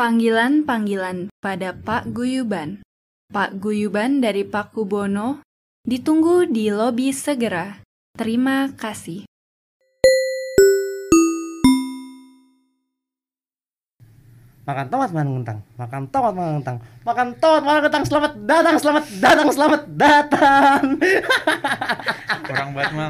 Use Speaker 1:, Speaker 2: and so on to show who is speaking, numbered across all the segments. Speaker 1: Panggilan-panggilan pada Pak Guyuban. Pak Guyuban dari Pak Kubono ditunggu di lobi segera. Terima kasih.
Speaker 2: Makan tomat makan kentang, makan tomat makan kentang, makan tomat makan kentang. Selamat datang, selamat datang, selamat datang.
Speaker 3: Orang banget mah.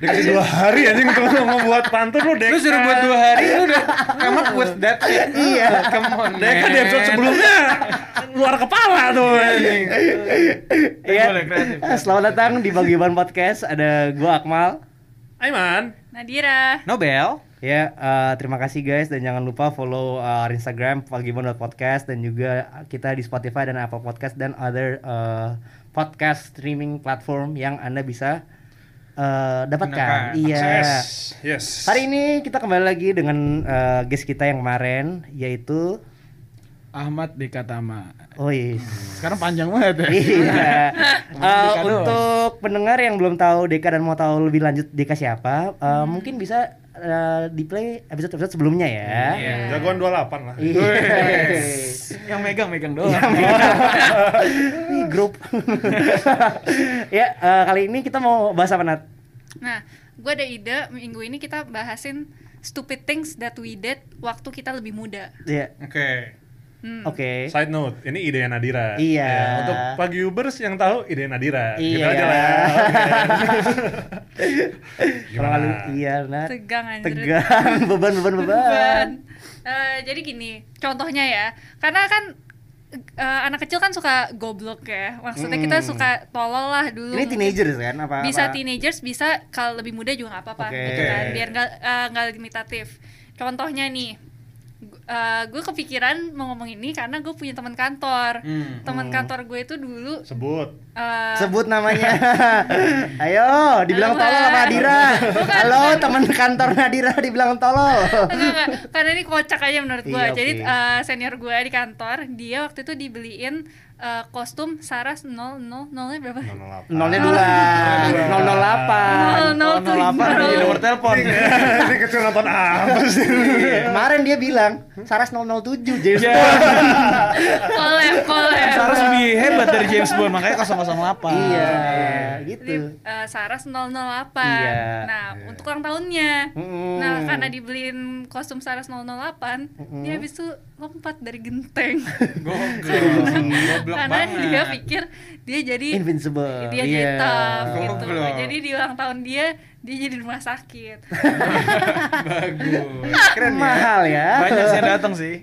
Speaker 3: Dikasih dua hari aja untuk membuat pantun lu Deka. Lu suruh buat dua hari lu udah Iya kan? come up with that shit. Iya. Come on.
Speaker 4: Deka di episode sebelumnya luar kepala tuh. anjing.
Speaker 2: Iya.
Speaker 3: Boleh, kreatif. ya?
Speaker 2: Selamat datang di Bagiban Podcast. Ada gua Akmal.
Speaker 4: Aiman,
Speaker 3: Nah,
Speaker 5: Nadira.
Speaker 3: Nobel.
Speaker 2: Ya, eh, terima kasih guys dan jangan lupa follow eh, Instagram Podcast dan juga kita di Spotify dan Apple Podcast dan other eh, podcast streaming platform yang Anda bisa eh, dapatkan.
Speaker 3: Gunakan.
Speaker 2: Iya.
Speaker 4: Yes. Yes.
Speaker 2: Hari ini kita kembali lagi dengan eh, guest kita yang kemarin yaitu
Speaker 6: Ahmad di Katama.
Speaker 2: Oh yes.
Speaker 6: Sekarang panjang banget ya.
Speaker 2: Iya. Eh,
Speaker 6: Dika doang.
Speaker 2: untuk pendengar yang belum tahu Deka dan mau tahu lebih lanjut Deka siapa, eh, mungkin bisa di play episode-episode sebelumnya ya.
Speaker 6: Hmm, iya.
Speaker 4: Iya. jagoan 28 lah.
Speaker 2: Iya.
Speaker 3: Yang megang-megang doang.
Speaker 2: Ih, grup. ya, eh, kali ini kita mau bahas apa Nat?
Speaker 5: Nah, gue ada ide minggu ini kita bahasin stupid things that we did waktu kita lebih muda.
Speaker 2: Ya,
Speaker 4: Oke.
Speaker 5: Hmm.
Speaker 2: oke.
Speaker 4: Side note, ini ide Nadira.
Speaker 2: Iya.
Speaker 4: Ya, untuk pagi Ubers yang tahu ide Nadira. Gitu
Speaker 2: Iya.
Speaker 4: aja lah. ya. Oke.
Speaker 2: Kalau lalu
Speaker 4: Gimana?
Speaker 2: iya Nat.
Speaker 5: Tegang anjir.
Speaker 2: Tegang, beban beban beban.
Speaker 5: Beban. Eh, jadi gini, contohnya ya. Karena kan eh, anak kecil kan suka goblok ya. Maksudnya
Speaker 2: Mm.
Speaker 5: kita suka tolol lah dulu.
Speaker 2: Ini
Speaker 5: mungkin.
Speaker 2: teenagers kan apa?
Speaker 5: Bisa
Speaker 2: apa?
Speaker 5: teenagers, bisa kalau lebih muda juga nggak apa-apa
Speaker 2: Oke.
Speaker 5: gitu kan. Biar nggak eh, nggak limitatif. Contohnya nih, eh, gue kepikiran mau ngomong ini karena gue punya teman kantor.
Speaker 3: Hmm.
Speaker 5: Teman
Speaker 2: Hmm.
Speaker 5: kantor gue itu dulu
Speaker 4: Sebut.
Speaker 5: eh,
Speaker 2: Sebut namanya. Ayo, dibilang
Speaker 5: Halo,
Speaker 2: tolol sama
Speaker 5: Mas.
Speaker 2: Nadira. Halo, teman kantor Nadira dibilang tolol.
Speaker 5: Enggak, enggak. Karena ini kocak aja menurut gue.
Speaker 2: Iya, oke.
Speaker 5: Jadi eh, senior gue di kantor, dia waktu itu dibeliin eh, kostum Saras 00 nolnya berapa?
Speaker 4: 08.
Speaker 2: Nolnya dua, nol nol delapan,
Speaker 5: Ah.
Speaker 3: Oh,
Speaker 5: Nol, nol,
Speaker 3: Ini
Speaker 5: tujuh.
Speaker 3: Iya, nomor telepon.
Speaker 4: ini kecil nonton apa sih?
Speaker 2: Kemarin dia bilang Saras 007 James
Speaker 3: Ya.
Speaker 2: Bond.
Speaker 5: Kolem, kolem.
Speaker 3: Harus lebih hebat dari James Bond makanya 008.
Speaker 2: Iya,
Speaker 5: Jadi,
Speaker 2: gitu.
Speaker 5: eh, Saras 008.
Speaker 2: Iya.
Speaker 5: Nah, untuk ulang tahunnya.
Speaker 2: Mm.
Speaker 5: Nah, karena dibeliin kostum Saras 008, dia habis itu lompat dari genteng.
Speaker 3: Gokil. Goblok
Speaker 5: karena
Speaker 3: banget.
Speaker 5: dia pikir dia jadi
Speaker 2: Invincible. Iya.
Speaker 5: dia jadi tough gitu.
Speaker 3: Goblok.
Speaker 5: Jadi di ulang tahun dia dia jadi di rumah sakit.
Speaker 3: Bagus.
Speaker 2: Keren mahal ya.
Speaker 3: Banyak sih yang datang sih.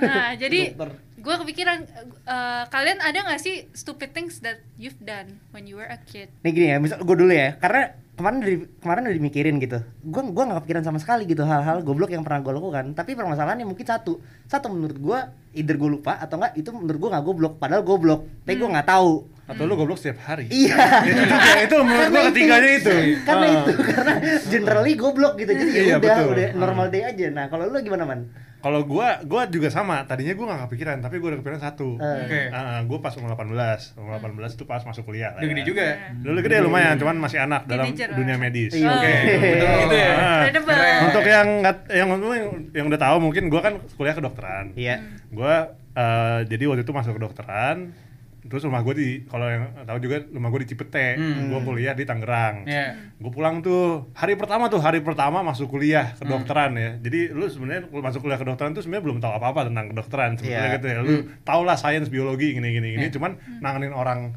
Speaker 5: Nah, jadi
Speaker 3: Dokter.
Speaker 5: gue kepikiran eh, kalian ada nggak sih stupid things that you've done when you were a kid?
Speaker 2: Nih gini ya, misal gue dulu ya, karena kemarin dari kemarin udah dimikirin gitu. Gue gua nggak kepikiran sama sekali gitu hal-hal goblok yang pernah gue lakukan. Tapi permasalahannya mungkin satu, satu menurut gue, either gue lupa atau enggak itu menurut gue nggak goblok. Padahal goblok, tapi
Speaker 4: Hmm.
Speaker 2: gue nggak tahu.
Speaker 4: Atau lu goblok setiap hari?
Speaker 2: Iya,
Speaker 4: itu juga, itu menurut gua ketiganya itu. Ah.
Speaker 2: karena itu karena generally goblok gitu. Jadi ya
Speaker 4: Iya,
Speaker 2: udah,
Speaker 4: betul.
Speaker 2: udah normal day aja. Nah kalau lu gimana man?
Speaker 4: Kalau gua, gua juga sama. Tadinya gua gak kepikiran, tapi gua udah kepikiran satu.
Speaker 2: Eh.
Speaker 3: Oke.
Speaker 4: Ah, gua pas umur 18. Umur 18 itu pas masuk kuliah. lah
Speaker 3: Udah
Speaker 4: ya.
Speaker 3: gede juga.
Speaker 5: Nah.
Speaker 4: Dulu gede lumayan, cuman masih anak dalam
Speaker 5: Teenager lah.
Speaker 4: dunia medis.
Speaker 2: Iya.
Speaker 3: Oke. Betul gitu ya.
Speaker 4: Ah.
Speaker 5: Incredible.
Speaker 3: Keren.
Speaker 4: Untuk yang nggak yang yang, yang udah tahu mungkin gua kan kuliah kedokteran.
Speaker 2: Iya.
Speaker 4: Gua eh, jadi waktu itu masuk kedokteran terus rumah gue di kalau yang tahu juga rumah gue di Cipete. Gua kuliah di Tangerang.
Speaker 3: Hmm. Iya.
Speaker 4: Gue pulang tuh hari pertama tuh hari pertama masuk kuliah
Speaker 2: Hmm.
Speaker 4: kedokteran ya. Jadi lu sebenarnya lu masuk kuliah kedokteran tuh sebenarnya belum tahu apa-apa tentang kedokteran sebenarnya
Speaker 2: Iya.
Speaker 4: gitu ya. Lu tau lah sains biologi gini gini gini cuman nanganin orang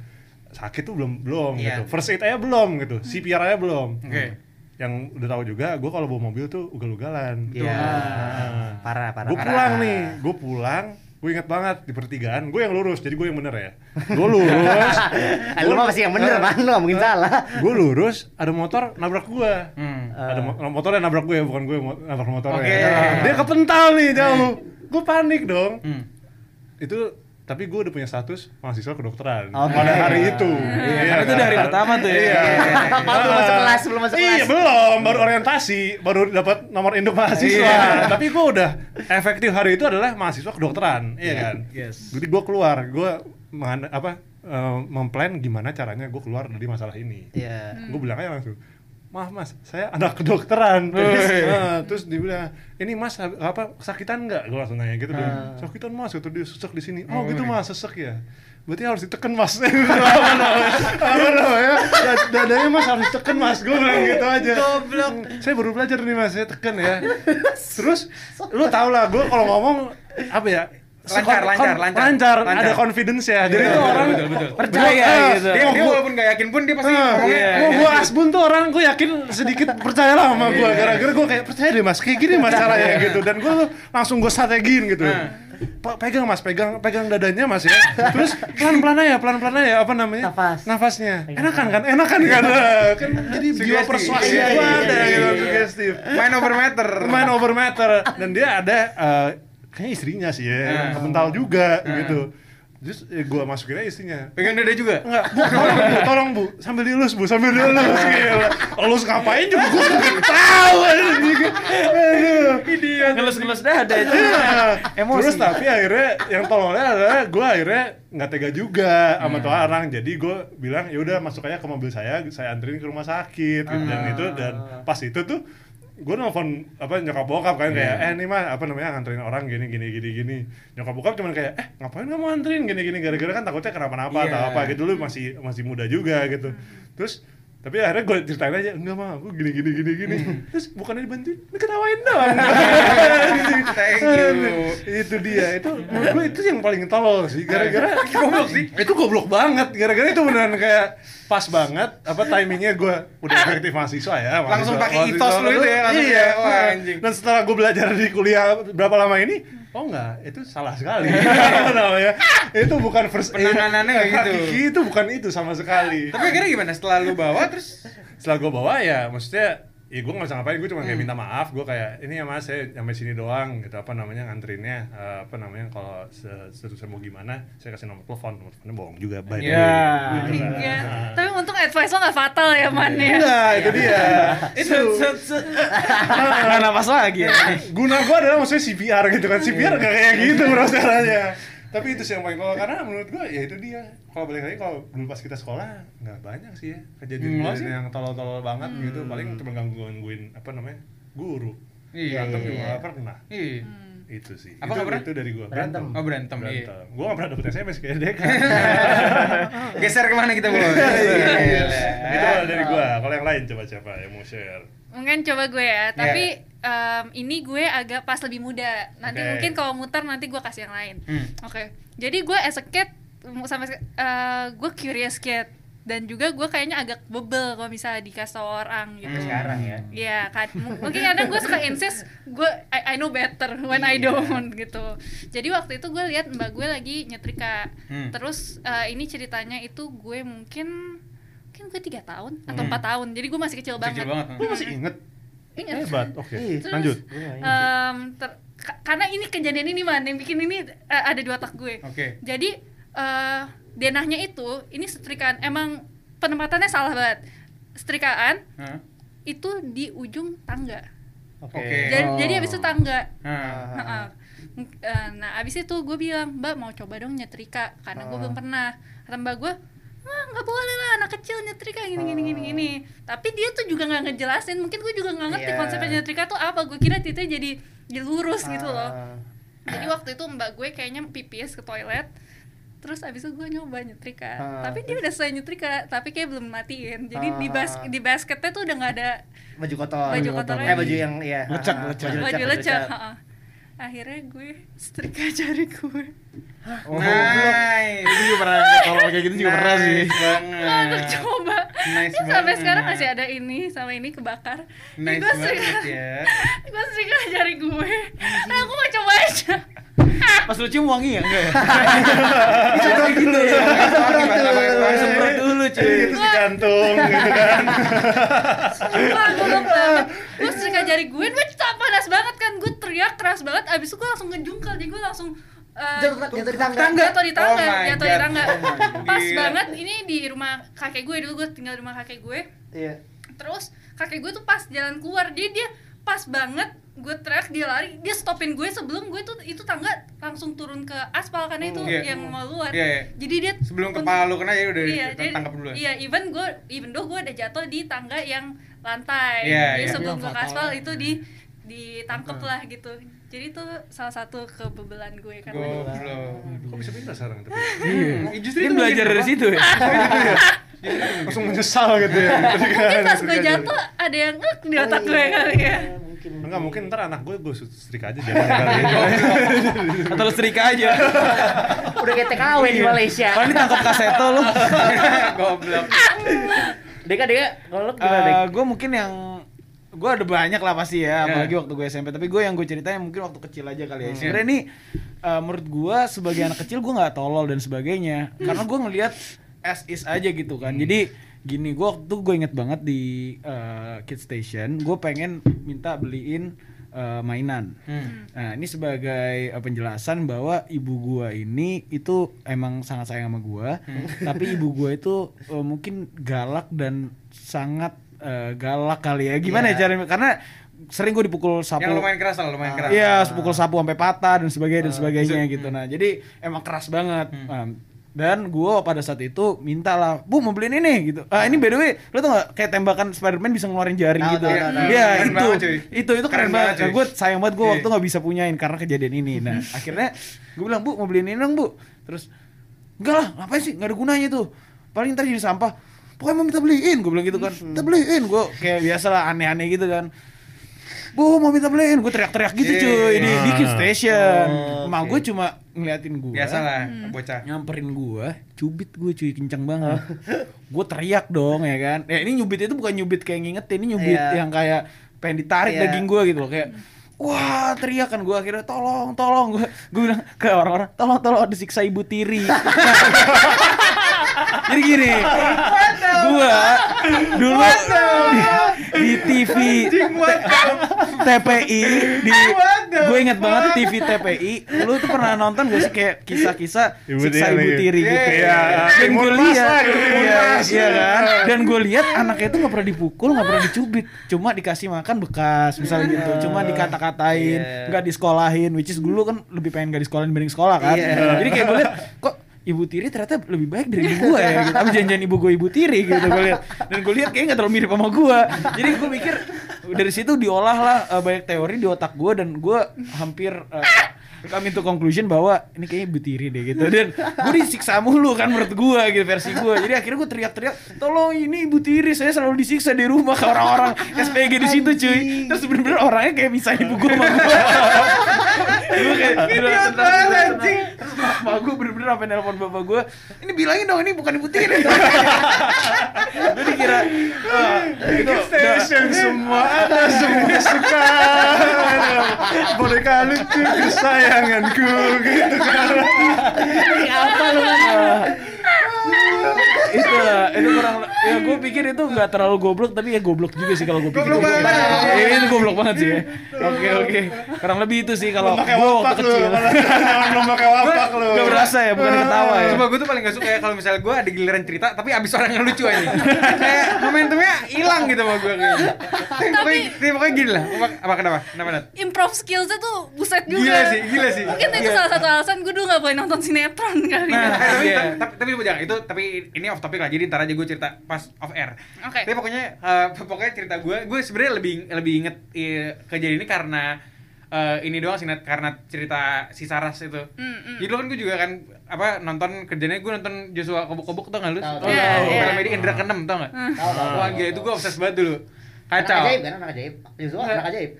Speaker 4: sakit tuh belum belum gitu.
Speaker 3: Iya.
Speaker 4: First aid aja belum gitu. CPR aja belum. Hmm.
Speaker 3: Oke.
Speaker 4: Yang udah tahu juga gue kalau bawa mobil tuh ugal-ugalan.
Speaker 2: Iya.
Speaker 4: Nah,
Speaker 2: Parah parah.
Speaker 4: gue
Speaker 2: parah.
Speaker 4: pulang nih gue pulang gue inget banget di pertigaan gue yang lurus jadi gue yang bener ya gue lurus
Speaker 2: Ah, lu mah pasti yang bener man, lu nggak mungkin
Speaker 4: Ah.
Speaker 2: salah.
Speaker 4: gue lurus ada motor nabrak gue
Speaker 3: Hmm.
Speaker 4: ada mo- eh, motornya nabrak gue bukan gue mo- nabrak motornya ya.
Speaker 3: Oke.
Speaker 4: dia kepental nih jauh gue panik dong
Speaker 3: Hmm.
Speaker 4: itu tapi gue udah punya status mahasiswa kedokteran
Speaker 2: Oke.
Speaker 4: pada hari itu
Speaker 3: Iya, Karena itu dari
Speaker 4: kan?
Speaker 3: pertama tuh ya.
Speaker 4: Iya.
Speaker 2: Kalau belum masuk kelas, belum masuk
Speaker 4: Iya
Speaker 2: kelas.
Speaker 4: belum, baru orientasi, baru dapat nomor induk mahasiswa.
Speaker 3: Iya.
Speaker 4: Tapi gue udah efektif hari itu adalah mahasiswa kedokteran, iya kan?
Speaker 3: Yes.
Speaker 4: Jadi gue keluar, gue mengan- apa eh, memplan gimana caranya gue keluar dari masalah ini.
Speaker 2: Iya.
Speaker 3: Hmm.
Speaker 4: Gue bilang aja langsung, maaf mas saya anak kedokteran terus,
Speaker 3: Wih.
Speaker 4: ah, terus dia bilang ini mas hab- apa kesakitan nggak gue langsung nanya gitu dia bilang, sakitan mas itu dia sesek di sini oh
Speaker 3: Oh,
Speaker 4: gitu
Speaker 3: iya.
Speaker 4: mas sesek ya berarti harus diteken mas apa namanya apa namanya Dad- dadanya mas harus teken mas gue bilang gitu aja
Speaker 3: Goblok.
Speaker 4: saya baru belajar nih mas saya teken ya terus lu tau lah gue kalau ngomong apa ya
Speaker 3: Lancar,
Speaker 4: kon-
Speaker 3: lancar,
Speaker 4: kon-
Speaker 3: lancar.
Speaker 4: lancar, ada
Speaker 3: Lancar.
Speaker 4: confidence
Speaker 6: Eh,
Speaker 4: ya. Jadi
Speaker 3: Betul,
Speaker 6: Iya,
Speaker 4: tuh orang
Speaker 3: betul, betul, betul.
Speaker 6: Percaya
Speaker 4: Betul, ah,
Speaker 6: gitu.
Speaker 4: dia
Speaker 3: Iya, dia, dia
Speaker 4: gua-
Speaker 3: walaupun gak yakin pun dia pasti
Speaker 4: Ah,
Speaker 3: ngomongnya
Speaker 6: iya,
Speaker 3: "Oh,
Speaker 4: Gua gua Asbun tuh orang gue yakin sedikit percaya lah sama gue
Speaker 3: Iya.
Speaker 4: gara-gara gue kayak percaya deh mas kayak gini masalahnya gitu dan gue langsung gue strategiin gitu
Speaker 3: Ah.
Speaker 4: Pa- pegang mas pegang pegang dadanya mas ya terus pelan-pelan aja pelan-pelan aja apa namanya
Speaker 2: Nafas.
Speaker 4: nafasnya enakan kan enakan kan Ah, kan jadi jiwa
Speaker 3: Iya. Sugesti.
Speaker 4: persuasif
Speaker 3: Iya,
Speaker 4: gua
Speaker 3: iya,
Speaker 4: ada
Speaker 3: iya,
Speaker 4: gitu
Speaker 3: iya, iya.
Speaker 4: sugestif
Speaker 3: main over meter
Speaker 4: main over matter dan dia ada eh, kayaknya istrinya sih ya
Speaker 3: Ah.
Speaker 4: mental juga
Speaker 3: Ah.
Speaker 4: gitu terus eh, gue masukin aja istrinya
Speaker 3: pengen dada juga
Speaker 4: Enggak, bu, tolong bu, tolong bu, sambil dielus bu, sambil dielus gila. Elus ngapain juga gue nggak tahu anjing. Aduh.
Speaker 6: Iya, Ngelus-ngelus dada itu. Emosi.
Speaker 4: Iya, Terus tapi akhirnya yang tololnya adalah gue akhirnya nggak tega juga sama
Speaker 3: Iya.
Speaker 4: tuh orang, jadi gue bilang ya udah masuk aja ke mobil saya, saya anterin ke rumah sakit gitu. dan
Speaker 3: Ah.
Speaker 4: itu dan pas itu tuh gue nelfon apa nyokap bokap kan kayak
Speaker 3: Iya.
Speaker 4: eh nih mah apa namanya nganterin orang gini gini gini gini nyokap bokap cuman kayak eh ngapain kamu anterin gini gini gara-gara kan takutnya kenapa-napa atau
Speaker 3: Iya. Hmm.
Speaker 4: apa gitu dulu masih masih muda juga gitu terus tapi akhirnya gue ceritain aja enggak mah gue gini gini gini gini
Speaker 3: Hmm.
Speaker 4: terus bukannya dibantuin diketawain doang
Speaker 3: Thank you.
Speaker 4: itu dia itu menurut gue itu yang paling tolol sih gara-gara goblok sih itu goblok banget gara-gara itu beneran kayak pas banget apa timingnya gue udah efektif mahasiswa ya mahasiswa.
Speaker 3: Ah. Langsung pakai
Speaker 4: Mahasiswa
Speaker 3: ethos lu itu ya, langsung
Speaker 4: iya
Speaker 3: kayak, wah, anjing.
Speaker 4: dan setelah gue belajar di kuliah berapa lama ini oh enggak itu salah sekali Apa namanya itu bukan first aid.
Speaker 3: Penanganannya nggak gitu.
Speaker 4: Hakiki itu bukan itu sama sekali
Speaker 3: tapi akhirnya gimana setelah lu bawa terus
Speaker 4: setelah gue bawa ya maksudnya ya gue nggak bisa ngapain gue cuma kayak minta maaf gue kayak ini ya mas saya sampai sini doang gitu apa namanya nganterinnya eh, apa namanya kalau se- seterusnya mau gimana saya kasih nomor telepon nomor teleponnya bohong juga by the way.
Speaker 6: Iya.
Speaker 4: Gitu kan.
Speaker 5: Iya. Tapi untung advice lo gak fatal ya,
Speaker 6: Iya.
Speaker 5: Man ya.
Speaker 4: nah itu dia
Speaker 3: Iya, itu Iya.
Speaker 6: Nggak nafas lagi ya.
Speaker 4: Iya. guna gue adalah maksudnya CPR gitu kan CPR gak kayak gitu bro caranya tapi itu sih yang paling kalau karena menurut gue ya itu dia kalau balik lagi kalau dulu pas kita sekolah nggak banyak sih ya kejadian
Speaker 3: Nggak sih.
Speaker 4: yang tolol-tolol banget
Speaker 5: Hmm.
Speaker 4: gitu paling cuma ganggu-gangguin apa namanya guru
Speaker 3: iya
Speaker 4: berantem juga nggak pernah
Speaker 3: iya
Speaker 5: Hmm.
Speaker 4: itu sih
Speaker 3: Apa
Speaker 4: itu,
Speaker 3: nggak pernah?
Speaker 4: itu dari gua
Speaker 2: Berantem.
Speaker 4: berantem
Speaker 3: oh berantem iya
Speaker 4: berantem gua nggak pernah dapet sms kayak kan. dek
Speaker 3: geser kemana kita Iya, bos
Speaker 6: Iya,
Speaker 4: itu kalau dari gua kalau yang lain coba siapa yang mau share
Speaker 5: Mungkin coba gue ya, tapi
Speaker 3: Iya.
Speaker 5: em, ini gue agak pas lebih muda. Nanti
Speaker 4: Oke.
Speaker 5: mungkin kalau muter nanti gue kasih yang lain.
Speaker 3: Hmm.
Speaker 5: Oke. Jadi gue as a kid mu- sampai sek- eh, gue curious kid dan juga gue kayaknya agak bebel kalau misalnya dikasih tau orang gitu.
Speaker 3: Hmm.
Speaker 2: sekarang ya
Speaker 5: Iya, kan. M- mungkin kadang gue suka insist gue I, I know better when I
Speaker 3: Iya.
Speaker 5: don't gitu. Jadi waktu itu gue lihat mbak gue lagi nyetrika.
Speaker 3: Hmm.
Speaker 5: Terus eh, ini ceritanya itu gue mungkin mungkin gue tiga tahun atau empat tahun. Jadi gue masih kecil banget.
Speaker 3: Hmm.
Speaker 5: Iya.
Speaker 3: kecil banget hmm. Eh,
Speaker 4: gua masih inget
Speaker 5: Ingat.
Speaker 4: hebat oke
Speaker 2: Iya.
Speaker 5: Terus,
Speaker 4: lanjut
Speaker 5: em, ter- ka- karena ini kejadian ini man yang bikin ini eh, ada di otak gue.
Speaker 3: oke
Speaker 5: Jadi eh, denahnya itu ini setrikaan emang penempatannya salah banget. Setrikaan
Speaker 3: Hah?
Speaker 5: itu di ujung tangga.
Speaker 2: oke
Speaker 3: Oke.
Speaker 5: Jadi,
Speaker 6: Oh.
Speaker 5: jadi abis itu tangga.
Speaker 3: Hah.
Speaker 6: Ah.
Speaker 5: Heeh. M- eh, Nah abis itu gue bilang mbak mau coba dong nyetrika karena gue
Speaker 2: Ah.
Speaker 5: belum pernah. Kata mbak gue "Wah, nggak boleh lah anak kecil nyetrika gini gini gini gini
Speaker 2: Oh.
Speaker 5: tapi dia tuh juga nggak ngejelasin mungkin gue juga nggak ngerti
Speaker 3: Iya.
Speaker 5: konsepnya nyetrika tuh apa gue kira titiknya jadi dilurus gitu loh
Speaker 2: Ah.
Speaker 5: jadi waktu itu mbak gue kayaknya pipis ke toilet terus abis itu gue nyoba nyetrika
Speaker 2: Ah,
Speaker 5: tapi dia udah selesai nyetrika tapi kayak belum matiin jadi di
Speaker 2: Ah.
Speaker 5: bas di basketnya tuh udah nggak ada
Speaker 2: baju kotor
Speaker 5: Baju kotor
Speaker 2: eh
Speaker 5: lagi.
Speaker 2: baju yang ya
Speaker 6: Lecek,
Speaker 2: ah,
Speaker 6: lecek.
Speaker 5: baju lecek heeh. akhirnya gue setrika jari gue
Speaker 6: Oh,
Speaker 3: nice
Speaker 6: Itu juga pernah kalau kayak gitu juga pernah sih.
Speaker 3: Nice
Speaker 5: untuk
Speaker 3: banget
Speaker 5: coba
Speaker 3: Eh, Nice
Speaker 5: Ini sampai
Speaker 3: banget.
Speaker 5: sekarang masih ada ini sama ini kebakar Ini
Speaker 3: nice
Speaker 5: gue
Speaker 3: banget
Speaker 5: setrika
Speaker 3: ya
Speaker 5: gue setrika jari gue nah, aku mau coba aja
Speaker 6: Pas lu cium wangi ya enggak ya?
Speaker 4: Iya,
Speaker 3: gitu ya gitu
Speaker 6: Langsung perut dulu
Speaker 7: Iya,
Speaker 6: cuy.
Speaker 4: itu si jantung gitu kan
Speaker 5: Sumpah, gue banget Gue setrika jari gue, gue tak panas banget kan Gue teriak keras banget, abis itu gue langsung ngejungkel Jadi gue langsung eh,
Speaker 2: jatuh jatuh di tangga
Speaker 5: tangga atau di tangga,
Speaker 3: Oh my
Speaker 5: jatuh di
Speaker 3: God.
Speaker 5: tangga
Speaker 3: Oh my God.
Speaker 5: Pas
Speaker 3: Gila.
Speaker 5: banget, ini di rumah kakek gue Dulu gue tinggal di rumah kakek gue
Speaker 2: iya
Speaker 5: Terus kakek gue tuh pas jalan keluar Dia, dia pas banget gue teriak dia lari dia stopin gue sebelum gue tuh itu tangga langsung turun ke aspal karena itu
Speaker 3: Iya.
Speaker 5: yang mau keluar
Speaker 3: Iya, iya.
Speaker 5: jadi dia
Speaker 3: sebelum
Speaker 5: pun-
Speaker 3: kepala lu kena ya udah
Speaker 5: iya, jadi-
Speaker 3: tangkap dulu ya
Speaker 5: iya even gue even though gue udah jatuh di tangga yang lantai
Speaker 3: Iya,
Speaker 5: jadi
Speaker 3: iya.
Speaker 5: sebelum gue ke
Speaker 7: Fatal.
Speaker 5: aspal itu di ditangkep lah gitu jadi itu salah satu kebebelan gue kan. karena
Speaker 3: Goblok.
Speaker 4: Kok bisa pindah sekarang tapi?
Speaker 3: Iya. Justru
Speaker 7: Dia
Speaker 3: itu
Speaker 7: belajar dari situ ya.
Speaker 4: Langsung menyesal gitu ya.
Speaker 5: mungkin pas gue jatuh ada yang ngek di otak Iya,
Speaker 2: Oh,
Speaker 5: gue
Speaker 2: iya.
Speaker 5: kali ya
Speaker 4: Enggak mungkin ntar anak gue gue setrika aja jangan kali.
Speaker 7: Atau lu setrika aja.
Speaker 2: Udah kayak TKW di Malaysia.
Speaker 7: Kalau ini tangkap kaseto lu.
Speaker 3: Goblok.
Speaker 2: Deka Deka, kalau lu gimana Dek?
Speaker 6: Eh, gue mungkin yang gue ada banyak lah pasti ya,
Speaker 3: Ya.
Speaker 6: apalagi waktu gue SMP. Tapi gue yang gue ceritain mungkin waktu kecil aja kali ya.
Speaker 3: Hmm.
Speaker 6: Sebenarnya ini eh, menurut gue sebagai anak kecil gue nggak tolol dan sebagainya, karena gue ngelihat as is aja gitu kan. Jadi gini, gue waktu gue inget banget di eh, Kid Station, gue pengen minta beliin eh, mainan.
Speaker 3: Hmm.
Speaker 6: Nah, ini sebagai eh, penjelasan bahwa ibu gua ini itu emang sangat sayang sama gua,
Speaker 3: Hmm.
Speaker 6: tapi ibu gua itu eh, mungkin galak dan sangat eh, galak kali ya. Gimana
Speaker 3: Iya.
Speaker 6: ya caranya? Karena sering gua dipukul sapu.
Speaker 3: Yang lumayan keras lah,
Speaker 4: Ah.
Speaker 3: lumayan keras. Ah. Iya.
Speaker 6: Iya, pukul sapu sampai patah dan sebagainya dan sebagainya gitu. Nah, jadi emang keras banget.
Speaker 3: Hmm.
Speaker 6: Um, dan gua pada saat itu minta lah, bu mau beliin ini gitu. Ah ini by the way, lo tau gak kayak tembakan Spiderman bisa ngeluarin jari
Speaker 2: Tahu,
Speaker 6: gitu.
Speaker 2: tahu,
Speaker 6: Iya
Speaker 2: tahu, tahu.
Speaker 3: Keren
Speaker 6: itu,
Speaker 3: banget, cuy.
Speaker 6: itu itu keren,
Speaker 3: Keren
Speaker 6: banget.
Speaker 3: banget, cuy.
Speaker 6: gue sayang banget gue
Speaker 3: Iya.
Speaker 6: waktu nggak bisa punyain karena kejadian ini. Nah akhirnya gue bilang bu mau beliin ini dong bu. Terus enggak lah, ngapain sih nggak ada gunanya tuh. Paling ntar jadi sampah. Pokoknya mau minta beliin, gue bilang gitu kan.
Speaker 3: Hmm.
Speaker 6: Minta beliin, gue kayak biasa lah aneh-aneh gitu kan. Bu mau minta beliin, gue teriak-teriak gitu
Speaker 3: Iya.
Speaker 6: cuy di, di Kid
Speaker 4: Ah.
Speaker 6: Station.
Speaker 2: Oh,
Speaker 6: Emak
Speaker 2: oke.
Speaker 6: gue cuma ngeliatin gue.
Speaker 3: Biasa lah,
Speaker 5: Hmm.
Speaker 3: bocah.
Speaker 6: Nyamperin gue, cubit gue cuy kenceng banget. gue teriak dong ya kan. Ya ini nyubit itu bukan nyubit kayak ngingetin, ini nyubit
Speaker 2: Iya.
Speaker 6: yang kayak pengen ditarik
Speaker 2: Iya.
Speaker 6: daging gue gitu loh kayak Wah teriak kan gue akhirnya tolong tolong gue gue bilang ke orang-orang tolong tolong disiksa ibu tiri jadi gini gue dulu di, di TV TPI di gue inget banget TV TPI lu tuh pernah nonton gak sih kayak kisah-kisah
Speaker 4: Ibu
Speaker 6: siksa
Speaker 4: tiri.
Speaker 6: ibu tiri gitu
Speaker 4: Iya,
Speaker 6: dan
Speaker 4: timun
Speaker 6: gue
Speaker 4: mas
Speaker 6: lihat
Speaker 4: lah, timun
Speaker 6: iya,
Speaker 4: mas.
Speaker 6: iya kan dan gue lihat anaknya itu nggak pernah dipukul nggak pernah dicubit cuma dikasih makan bekas misalnya gitu cuma dikata-katain
Speaker 2: Iya.
Speaker 6: nggak disekolahin which is dulu kan lebih pengen gak disekolahin dibanding sekolah kan
Speaker 2: Iya.
Speaker 6: jadi kayak gue lihat kok ibu tiri ternyata lebih baik dari ibu gue ya gitu. Apa janjian ibu gue ibu tiri gitu gue lihat. Dan gue lihat kayaknya gak terlalu mirip sama gue. Jadi gue mikir dari situ diolah lah eh, banyak teori di otak gue dan gue hampir kami to conclusion bahwa ini kayaknya ibu tiri deh gitu dan gue disiksa mulu kan menurut gue gitu versi gue jadi akhirnya gue teriak-teriak tolong ini ibu tiri saya selalu disiksa di rumah ke orang-orang SPG di situ cuy terus bener-bener orangnya kayak misalnya ibu gue sama gue gue kayak idiot banget anjing terus bapak gue bener-bener sampai nelpon bapak gue ini bilangin dong ini bukan ibu tiri gue dikira ah, itu udah-
Speaker 4: Station semua ada semua suka Aduh, boneka lucu kesayanganku gitu
Speaker 2: Apa lu kan?
Speaker 6: itu lah, itu kurang ya gue pikir itu nggak terlalu goblok tapi ya goblok juga sih kalau gue pikir
Speaker 3: Goblok banget.
Speaker 6: Iya, itu goblok banget sih ya. oke oke kurang lebih itu sih kalau
Speaker 4: pakai
Speaker 6: gue waktu
Speaker 4: wapak lu
Speaker 6: kecil
Speaker 4: lu pakai wapak lu
Speaker 6: Gak berasa ya, bukan ketawa ya.
Speaker 3: Cuma gue tuh paling gak suka ya kalau misalnya gue ada giliran cerita tapi abis orang yang lucu aja. Kayak momentumnya hilang gitu sama gue kayaknya. Tapi pokoknya, tapi pokoknya gini lah. Apa, apa kenapa? Kenapa Nat?
Speaker 5: improv skillsnya tuh buset juga
Speaker 3: Gila sih, gila sih.
Speaker 5: mungkin itu salah satu alasan gue dulu gak boleh nonton sinetron kali
Speaker 3: Iya. Nah,
Speaker 5: ya
Speaker 3: eh, tapi,
Speaker 6: Iya.
Speaker 3: tapi, tapi, tapi jangan, itu tapi ini off topic lah. Jadi ntar aja gue cerita pas off air.
Speaker 5: Oke.
Speaker 3: Tapi pokoknya eh, pokoknya cerita gue, gue sebenarnya lebih lebih inget eh, kejadian ini karena eh, ini doang sih Nat, karena cerita si Saras itu.
Speaker 5: Hmm, hmm.
Speaker 3: Jadi dulu kan gue juga kan apa nonton kerjanya gue nonton Joshua kobok-kobok tau gak lu?
Speaker 2: Tahu,
Speaker 3: Tau
Speaker 2: tahu.
Speaker 3: nggak?
Speaker 5: Iya, Hmm. iya.
Speaker 3: Film ini Indra keenam tau gak?
Speaker 2: Tahu, tahu,
Speaker 3: Wah
Speaker 2: tahu,
Speaker 3: gila itu
Speaker 2: tahu.
Speaker 3: gue obses banget dulu. Kacau.
Speaker 2: Anak ajaib kan anak ajaib. Yusuf anak ajaib.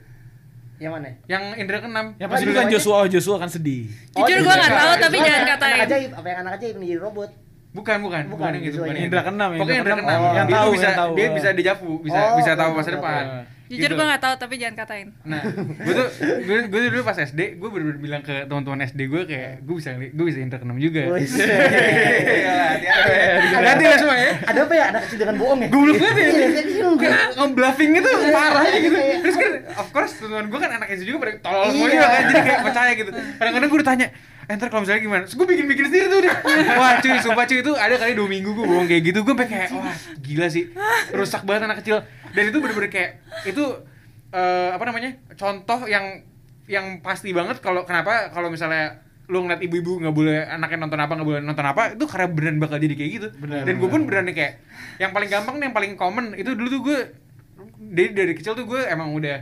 Speaker 2: Yang mana?
Speaker 3: Yang Indra keenam.
Speaker 6: yang pasti bukan Joshua oh Joshua kan sedih
Speaker 5: jujur gue gak
Speaker 3: iya.
Speaker 5: tahu tapi
Speaker 2: Oh, Anak-
Speaker 5: jangan katain
Speaker 2: Anak ajaib, apa yang anak ajaib menjadi robot?
Speaker 3: Bukan, bukan, bukan,
Speaker 2: Bukan,
Speaker 3: yang gitu,
Speaker 2: Joshua
Speaker 3: bukan
Speaker 2: yang
Speaker 3: yang
Speaker 6: Indra
Speaker 3: itu.
Speaker 6: keenam ya, Indra
Speaker 3: Pokoknya Indra keenam.
Speaker 6: keenam. Yang
Speaker 3: Dia
Speaker 6: tahu,
Speaker 3: tuh bisa
Speaker 6: yang tahu.
Speaker 3: dia bisa dejavu, bisa
Speaker 2: Oh,
Speaker 3: bisa tahu
Speaker 2: oke,
Speaker 3: masa
Speaker 2: oke,
Speaker 3: depan.
Speaker 2: oke.
Speaker 3: gitu
Speaker 5: jujur gue gak tahu tapi jangan katain
Speaker 3: Nah, gue tuh gue, gue tuh dulu pas SD, gue bener-bener bilang ke teman-teman SD gue kayak gue bisa ngeli- gue bisa Indra keenam juga.
Speaker 2: Wih.
Speaker 3: Hati-hati lah semua ya.
Speaker 2: Ada apa ya anak kecil dengan bohong ya?
Speaker 3: Goblok banget ya.
Speaker 2: Iya, kan, iya.
Speaker 3: Kayak ngebluffing itu parah aja gitu
Speaker 2: Iya.
Speaker 3: terus kan of course teman gue kan anak SD juga pada tolol semua
Speaker 2: Iya.
Speaker 3: juga kan jadi kayak percaya gitu kadang-kadang gue ditanya eh ntar kalau misalnya gimana terus gue bikin-bikin sendiri tuh deh wah cuy sumpah cuy itu ada kali dua minggu gue bohong kayak gitu gue sampai kayak wah gila sih rusak banget anak kecil dan itu bener-bener kayak itu eh, apa namanya contoh yang yang pasti banget kalau kenapa kalau misalnya lu ngeliat ibu-ibu nggak boleh anaknya nonton apa nggak boleh nonton apa itu karena beneran bakal jadi kayak gitu dan gue pun beneran kayak yang paling gampang nih yang paling common itu dulu tuh gue dari dari kecil tuh gue emang udah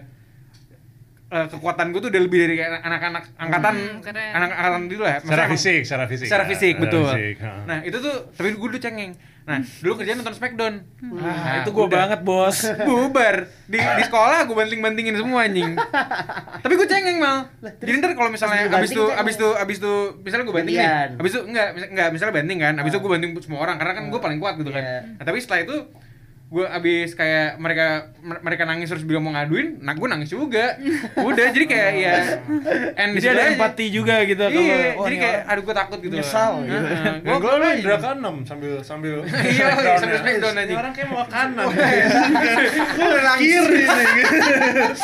Speaker 3: eh, kekuatan gue tuh udah lebih dari kayak anak-anak angkatan
Speaker 5: Hmm, keren.
Speaker 3: anak angkatan dulu lah. Maksudnya
Speaker 4: secara
Speaker 3: emang-
Speaker 4: fisik, secara fisik.
Speaker 3: Secara
Speaker 4: ya,
Speaker 3: fisik, betul.
Speaker 4: fisik, ha.
Speaker 3: Nah, itu tuh tapi gue dulu cengeng. Nah, dulu kerjaan nonton Smackdown. Nah,
Speaker 4: Nah,
Speaker 6: Ah, itu gue banget bos.
Speaker 3: bubar di, di sekolah gue banting bantingin semua anjing tapi gue cengeng mal jadi ntar kalau misalnya
Speaker 2: terus dibanting
Speaker 3: abis tuh
Speaker 2: cengeng.
Speaker 3: abis tuh abis tuh misalnya gue banting
Speaker 2: Gantian.
Speaker 3: nih abis itu enggak mis- enggak misalnya banting kan abis itu gue banting semua orang karena kan gue paling kuat gitu kan
Speaker 2: Iya.
Speaker 3: nah, tapi setelah itu gue abis kayak mereka mer- mereka nangis terus bilang mau ngaduin nah gue nangis juga udah jadi kayak ya and
Speaker 6: Jadi ada empati juga gitu. kalau,
Speaker 3: iya
Speaker 6: wah,
Speaker 3: jadi
Speaker 6: ini
Speaker 3: kayak
Speaker 6: orang-
Speaker 3: aduh gue takut gitu
Speaker 6: Menyesal, gitu.
Speaker 4: Gue gue
Speaker 3: lu
Speaker 4: lu Indra Kanem kan sambil sambil
Speaker 3: Iya,
Speaker 4: Smackdown-nya.
Speaker 3: sambil Smackdown, Iya.
Speaker 4: Ini
Speaker 3: anjing.
Speaker 4: Orang kayak mau kanan. Gue kiri nih.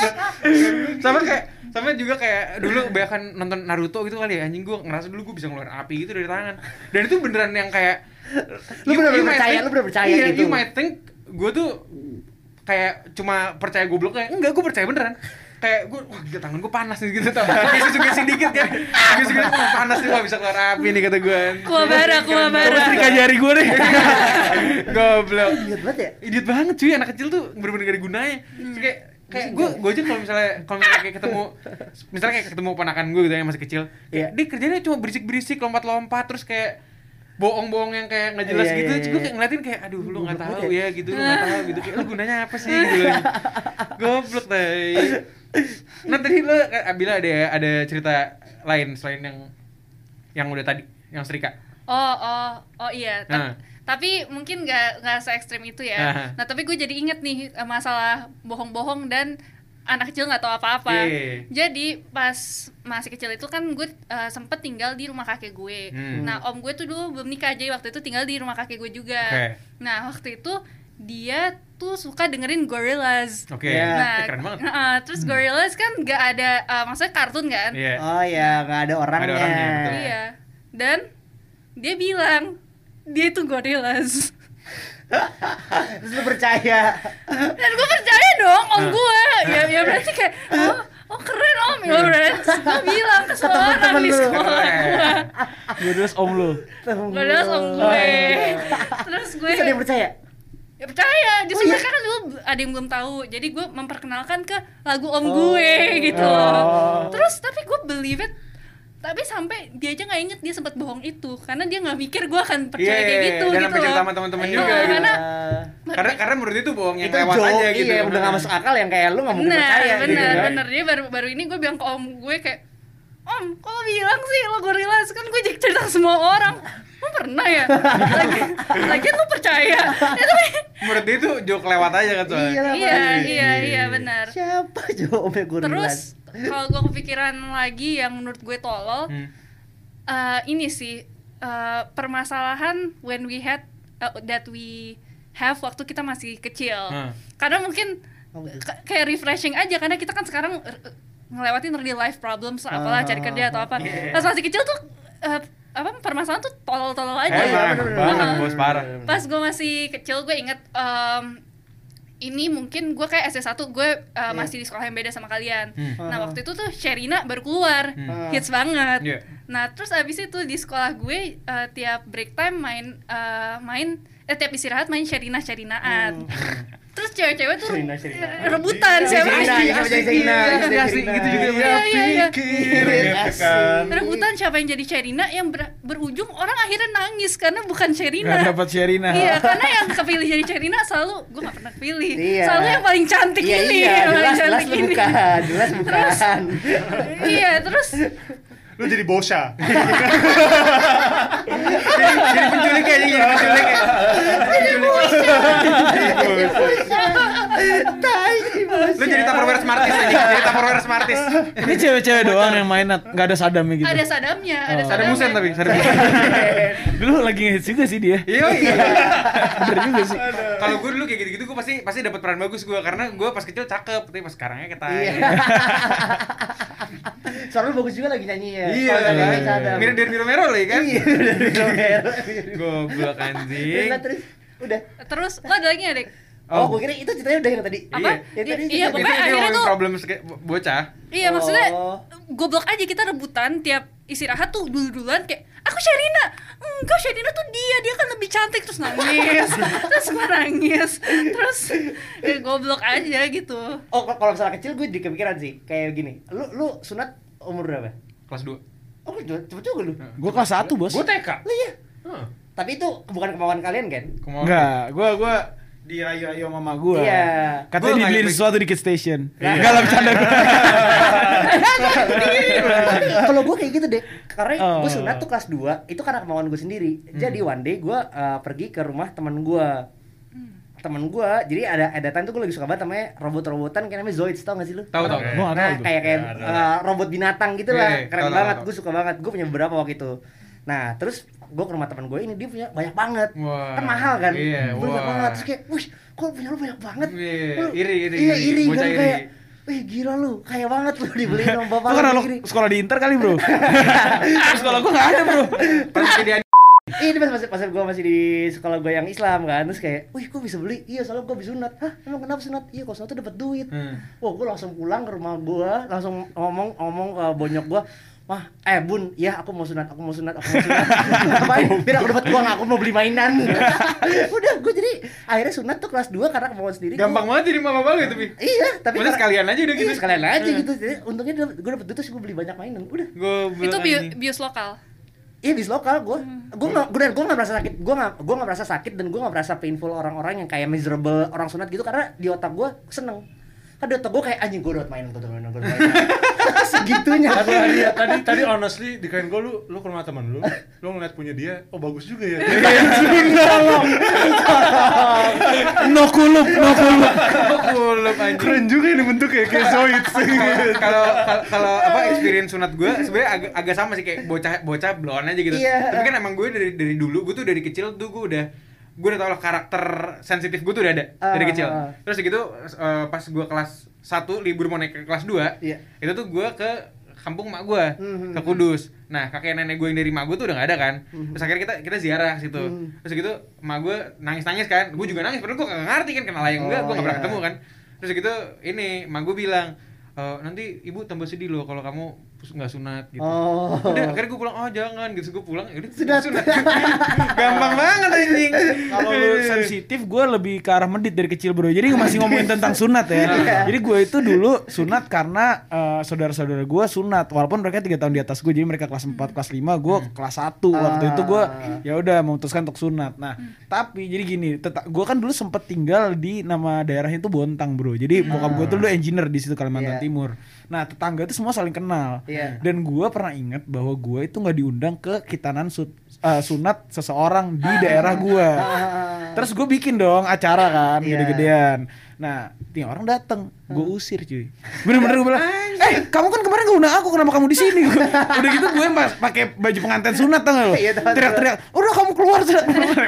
Speaker 3: sama kayak sama juga kayak dulu bahkan nonton Naruto gitu kali ya anjing gue ngerasa dulu gue bisa ngeluarin api gitu dari tangan dan itu beneran yang kayak
Speaker 2: Lu
Speaker 3: you-
Speaker 2: bener-bener
Speaker 3: you might
Speaker 2: percaya,
Speaker 3: think-
Speaker 2: lu bener percaya
Speaker 3: iya,
Speaker 2: gitu.
Speaker 3: you might think gue tuh kayak cuma percaya goblok kayak enggak gue percaya beneran kayak gue wah gila tangan gue panas nih gitu tau gak sugesti dikit kan gak sugesti panas nih wah bisa keluar api nih kata gue
Speaker 5: Kuwabara, kuwabara.
Speaker 6: Coba setrika jari gue deh.
Speaker 3: goblok
Speaker 2: Lihat banget ya.
Speaker 3: idiot banget cuy anak kecil tuh bener-bener gak ada gunanya
Speaker 2: Hmm.
Speaker 3: Terus kayak kayak gue
Speaker 2: ya?
Speaker 3: gue aja kalau misalnya kalau misalnya kayak ketemu misalnya kayak ketemu ponakan gue gitu yang masih kecil kayak
Speaker 2: Iya.
Speaker 3: dia kerjanya cuma berisik-berisik lompat-lompat terus kayak bohong-bohong yang kayak nggak jelas
Speaker 2: Iya,
Speaker 3: gitu
Speaker 2: iya,
Speaker 3: Terus
Speaker 2: iya,
Speaker 3: gue
Speaker 2: iya.
Speaker 3: kayak ngeliatin kayak aduh lu nggak
Speaker 2: Goblok
Speaker 3: tahu
Speaker 2: banget
Speaker 3: ya gitu lu nggak tahu gitu kayak lu gunanya apa sih gitu goblok tay nah tadi lu bila ada ada cerita lain selain yang yang udah tadi yang serika
Speaker 5: Oh, oh, oh iya. Ta-
Speaker 3: Ah.
Speaker 5: Tapi mungkin nggak nggak se ekstrim itu ya.
Speaker 3: Ah.
Speaker 5: Nah, tapi gue jadi inget nih eh, masalah bohong-bohong dan anak kecil nggak tahu apa-apa.
Speaker 3: Iya.
Speaker 5: Jadi pas masih kecil itu kan gue eh, sempet tinggal di rumah kakek gue.
Speaker 3: Hmm.
Speaker 5: Nah, om gue tuh dulu belum nikah jadi waktu itu tinggal di rumah kakek gue juga.
Speaker 3: Oke.
Speaker 5: Nah, waktu itu dia tuh suka dengerin Gorillaz.
Speaker 3: oke
Speaker 2: Iya.
Speaker 5: Nah,
Speaker 3: keren banget
Speaker 5: eh, terus Gorillaz kan nggak ada, eh, maksudnya kartun kan?
Speaker 3: Iya.
Speaker 2: Oh ya, nggak ada orangnya.
Speaker 3: orangnya, betul.
Speaker 5: Iya. Dan dia bilang dia itu gorillas.
Speaker 2: Terus lu percaya.
Speaker 5: Dan gue percaya dong om gue. Ya ya berarti kayak oh, oh keren om ya berarti gue bilang ke semua orang di
Speaker 2: temen-temen lu.
Speaker 5: sekolah gue.
Speaker 6: Gue terus om lu.
Speaker 5: Gorillas om
Speaker 2: iya,
Speaker 5: gue. Terus gue
Speaker 2: Oh, Terus ada yang percaya?
Speaker 5: ya percaya. Justru
Speaker 2: Oh, iya?
Speaker 5: karena dulu ada yang belum tahu. Jadi gue memperkenalkan ke lagu om gue gitu. Terus tapi gue believe it tapi sampai dia aja nggak inget dia sempat bohong itu karena dia nggak mikir gue akan percaya
Speaker 3: Iya,
Speaker 5: kayak gitu
Speaker 3: dan
Speaker 5: gitu
Speaker 3: sampai cerita
Speaker 5: loh.
Speaker 3: sama teman-teman
Speaker 5: Iya,
Speaker 3: juga gitu.
Speaker 2: Oh,
Speaker 5: karena-
Speaker 3: Karena karena menurut itu bohong yang
Speaker 2: itu
Speaker 3: lewat
Speaker 2: joke,
Speaker 3: aja gitu.
Speaker 2: iya, udah gak masuk akal yang kayak lu gak mungkin
Speaker 5: benar
Speaker 2: percaya gitu
Speaker 5: benar
Speaker 2: kan.
Speaker 5: benar dia baru baru ini gue bilang ke om gue kayak om kok lo bilang sih lo gorila kan gue jadi cerita ke semua orang lo pernah ya lagi lagi lo percaya Ya, tapi-
Speaker 3: Menurut dia itu joke lewat aja kan soalnya.
Speaker 2: Iya lah,
Speaker 5: iya
Speaker 2: apalagi.
Speaker 5: iya iya benar
Speaker 2: Siapa jawabnya gue
Speaker 5: terus kalau gue kepikiran lagi yang menurut gue tolol
Speaker 3: Hmm.
Speaker 5: eh, ini sih eh, permasalahan when we had eh, that we have waktu kita masih kecil
Speaker 3: Hmm. gitu.
Speaker 5: karena mungkin
Speaker 2: Oh, betul.
Speaker 5: ka- kayak refreshing aja karena kita kan sekarang er, er, ngelewatin real life problems apalah cari kerja
Speaker 3: Ah,
Speaker 5: atau apa
Speaker 3: iya.
Speaker 5: pas masih kecil tuh eh, apa permasalahan tuh tolol-tolol aja
Speaker 2: iya,
Speaker 3: Eh, parah
Speaker 2: bener-bener.
Speaker 3: banget,
Speaker 5: Heeh.
Speaker 3: bos parah.
Speaker 5: pas gue masih kecil gue inget em, ini mungkin gue kayak SD 1 gue eh, masih di sekolah yang beda sama kalian
Speaker 3: Hmm.
Speaker 5: nah waktu itu tuh Sherina baru keluar
Speaker 2: Oh.
Speaker 3: Hmm.
Speaker 5: hits banget
Speaker 3: Iya.
Speaker 5: nah terus abis itu di sekolah gue eh, tiap break time main eh, main eh tiap istirahat main Sherina Sherinaan terus cewek-cewek tuh
Speaker 2: Sherina, Sherina.
Speaker 5: rebutan siapa
Speaker 2: Sherina, siapa
Speaker 5: yang-
Speaker 2: yang Sherina,
Speaker 3: Iya,
Speaker 2: siapa yang
Speaker 3: asli,
Speaker 2: Sherina.
Speaker 3: gitu juga.
Speaker 5: Iya, iya, iya.
Speaker 4: Pikir gitu kan.
Speaker 5: rebutan siapa yang jadi Sherina yang ber- berujung orang akhirnya nangis karena bukan Sherina
Speaker 6: Gak dapat
Speaker 2: Nah.
Speaker 6: Sherina.
Speaker 5: Iya, karena yang kepilih jadi Sherina selalu gue gak pernah pilih.
Speaker 2: Iya.
Speaker 5: Selalu yang paling cantik
Speaker 2: Iya,
Speaker 5: ini,
Speaker 2: iya,
Speaker 5: yang paling
Speaker 2: jelas, jelas lu bukan, jelas bukan.
Speaker 5: iya, terus
Speaker 4: Lu jadi bosha.
Speaker 3: Jadi penculik aja jadi penculik. ya.
Speaker 4: Gitu.
Speaker 2: Tai,
Speaker 3: Lu jadi Tupperware Smarties aja. Jadi Tupperware Smarties.
Speaker 6: Ini cewek-cewek doang yang main Nat. Gak ada sadamnya gitu.
Speaker 5: ada sadamnya, ada
Speaker 3: Sadam
Speaker 5: sadamnya.
Speaker 3: Husen tapi, Sadam Husen.
Speaker 6: Dulu lagi ngehits juga sih dia.
Speaker 3: Iya. iya.
Speaker 6: Bener juga sih.
Speaker 3: Kalau gue dulu kayak gitu-gitu gue pasti pasti dapat peran bagus gue karena gue pas kecil cakep, tapi pas sekarangnya kita
Speaker 2: Iya. Soalnya bagus juga lagi nyanyi ya.
Speaker 3: Iya.
Speaker 2: Kalau nggak nyanyi,
Speaker 3: kan?
Speaker 2: cadang.
Speaker 3: Mirip dari Miro Mero lagi kan.
Speaker 2: Iya, dari Romero.
Speaker 3: Goblok anjing. Iya.
Speaker 2: Terus, terus, udah.
Speaker 5: Terus lo ada lagi nggak, Dek?
Speaker 2: Oh,
Speaker 3: Oh.
Speaker 2: gue kira itu ceritanya udah yang tadi.
Speaker 5: Apa?
Speaker 2: Yang tadi
Speaker 5: Iya,
Speaker 2: cerita-
Speaker 5: pokoknya akhirnya
Speaker 3: ngomongin
Speaker 5: tuh-
Speaker 3: problem seke- bo- bocah
Speaker 5: Iya maksudnya
Speaker 2: Oh.
Speaker 5: goblok aja kita rebutan tiap istirahat tuh dulu-duluan kayak aku Sherina enggak Sherina tuh dia dia kan lebih cantik terus nangis terus gua nangis terus ya goblok aja gitu
Speaker 2: Oh, kalau kalau masalah kecil gue jadi kepikiran sih. Kayak gini. Lu lu sunat umur berapa?
Speaker 3: kelas 2
Speaker 2: Oh, lu cepet juga lu.
Speaker 3: Hmm.
Speaker 6: Gue kelas 1 bos.
Speaker 3: gue TK
Speaker 2: Lah iya.
Speaker 3: Hah.
Speaker 2: Tapi itu bukan kemauan kalian kan?
Speaker 3: Kemauan.
Speaker 6: Enggak, gue gue dirayu-rayu sama mama gue.
Speaker 2: Iya.
Speaker 3: Gua
Speaker 6: Katanya
Speaker 3: nggak
Speaker 6: dibeliin
Speaker 3: ikut.
Speaker 6: sesuatu di Kid Station.
Speaker 2: Iya.
Speaker 6: Enggak lah bercanda gue.
Speaker 2: kalau gue kayak gitu deh karena
Speaker 6: Oh.
Speaker 2: gue sunat tuh kelas 2 itu karena kemauan gue sendiri jadi one day gue uh, pergi ke rumah teman gue
Speaker 5: Hmm.
Speaker 2: teman gue jadi ada ada time tuh gue lagi suka banget namanya robot-robotan kayak namanya Zoids tau gak sih lu
Speaker 3: tahu tahu
Speaker 4: Oke.
Speaker 6: Gua nggak tahu
Speaker 2: nah
Speaker 6: tuh.
Speaker 2: kayak kayak
Speaker 4: Ya, ada.
Speaker 2: uh, robot binatang gitu lah
Speaker 3: Iya, iya,
Speaker 2: keren
Speaker 3: tahu, tahu,
Speaker 2: banget
Speaker 3: tahu.
Speaker 2: gue suka banget gue punya beberapa waktu itu nah terus gue ke rumah teman gue ini dia punya banyak banget
Speaker 3: Wah.
Speaker 2: kan mahal kan
Speaker 3: Iya,
Speaker 2: Gua banyak
Speaker 3: wah.
Speaker 2: banget terus kayak wih kok punya lu banyak banget
Speaker 3: Iya,
Speaker 2: Lu-
Speaker 3: iri, iri,
Speaker 2: iya
Speaker 3: iri.
Speaker 2: iri,
Speaker 3: Bocah
Speaker 2: kan
Speaker 3: iri. kan
Speaker 2: kayak Wih gila lu, kaya banget lu dibeliin sama
Speaker 6: Itu
Speaker 2: bapak lu
Speaker 6: karena lo
Speaker 2: gini-gini."
Speaker 6: kan sekolah di Inter kali bro. sekolah gue nggak ada bro.
Speaker 3: terus jadi an-
Speaker 2: Ini Iya, pas masih pas gue masih di sekolah gue yang Islam kan terus kayak, wih gue bisa beli, iya soalnya gue bisa sunat, hah emang kenapa sunat? Iya kalau sunat tuh dapat duit.
Speaker 3: Hmm.
Speaker 2: Wah gue langsung pulang ke rumah gue, langsung ngomong ngomong ke bonyok gue, mah eh bun, ya aku mau sunat, aku mau sunat, aku mau sunat. Ngapain? Biar aku dapat uang, aku mau beli mainan. Udah gue jadi akhirnya sunat tuh kelas 2 karena kemauan sendiri. gua-
Speaker 3: gampang banget jadi mama banget
Speaker 2: Iya,
Speaker 3: tapi
Speaker 2: tapi
Speaker 3: Maksudnya
Speaker 2: karena-
Speaker 3: sekalian aja udah gitu.
Speaker 2: Iya, sekalian aja
Speaker 3: Eh.
Speaker 2: gitu. Jadi untungnya gue dapet duit terus gue beli banyak mainan. Udah.
Speaker 3: gue
Speaker 5: itu bio- bius lokal
Speaker 2: Iya bis lokal gue, gue nggak, gue dan gue nggak merasa sakit, gue nggak, gue nggak merasa sakit dan gue nggak merasa painful orang-orang yang kayak miserable orang sunat gitu karena di otak gue seneng. Kan di otak gue kayak anjing gue udah main, gue udah main, gue udah main. Segitunya gue
Speaker 4: Tapi tadi,
Speaker 2: lihat.
Speaker 4: tadi, tadi honestly di kain gue lu, lu ke rumah temen lu, lu ngeliat punya dia, oh bagus juga ya.
Speaker 6: No kulup, no kulup.
Speaker 3: kulub anjing
Speaker 4: Keren juga ini bentuknya, kayak zoids.
Speaker 3: kalau kalau- kalau apa experience sunat gue sebenarnya agak agak sama sih kayak bocah bocah blown aja gitu.
Speaker 2: Iya.
Speaker 3: Tapi kan emang gue dari dari dulu gue tuh dari kecil tuh gue udah gue udah tau lah karakter sensitif gue tuh udah ada dari
Speaker 2: Ah,
Speaker 3: kecil.
Speaker 2: ah.
Speaker 3: Terus gitu eh, pas gue kelas 1 libur mau naik ke kelas 2
Speaker 2: Iya.
Speaker 3: itu tuh gue ke kampung mak gue
Speaker 2: Mhm.
Speaker 3: ke Kudus. Nah kakek nenek gue yang dari mak gue tuh udah gak ada kan.
Speaker 2: Hmm,
Speaker 3: Terus akhirnya kita kita ziarah situ.
Speaker 2: Mhm.
Speaker 3: Terus gitu mak gue nangis nangis kan. Gue juga nangis padahal gue gak ngerti kan kenal yang enggak
Speaker 2: Oh,
Speaker 3: gue gak pernah
Speaker 2: iya.
Speaker 3: ketemu kan terus gitu ini mak gue bilang e, nanti ibu tambah sedih loh kalau kamu pus- nggak sunat gitu
Speaker 2: Oh.
Speaker 3: udah akhirnya gue pulang oh jangan gitu gue pulang udah
Speaker 2: Sunat.
Speaker 3: sunat gampang banget anjing Iya.
Speaker 6: Kalau lu
Speaker 2: Iya.
Speaker 6: sensitif, gue lebih ke arah medit dari kecil bro. Jadi masih ngomongin tentang sunat ya.
Speaker 2: Iya.
Speaker 6: Jadi gue itu dulu sunat karena eh, saudara-saudara gue sunat. Walaupun mereka tiga tahun di atas gue, jadi mereka kelas 4, kelas 5, gue
Speaker 2: Hmm.
Speaker 6: kelas 1 waktu itu gue
Speaker 2: Ah.
Speaker 6: ya udah memutuskan untuk sunat. Nah, tapi jadi gini, tetap gue kan dulu sempet tinggal di nama daerahnya itu Bontang bro. Jadi bokap gue tuh dulu engineer di situ
Speaker 2: Ah.
Speaker 6: Kalimantan
Speaker 2: Iya.
Speaker 6: Timur. Nah tetangga itu semua saling kenal.
Speaker 2: Iya.
Speaker 6: Dan gue pernah ingat bahwa gue itu nggak diundang ke kitanan sut- eh, sunat seseorang di daerah gue.
Speaker 2: Ah.
Speaker 6: Terus gue bikin dong acara kan
Speaker 2: Iya. Hmm.
Speaker 6: gede-gedean. Nah, nih orang dateng, gue usir cuy. Bener-bener gue bilang, eh kamu kan kemarin gak undang aku, kenapa kamu di sini? Gua- Udah gitu gue pas pakai baju pengantin sunat tau gak lo?
Speaker 2: Iya, tahu,
Speaker 6: Teriak-teriak, udah kamu keluar sunat.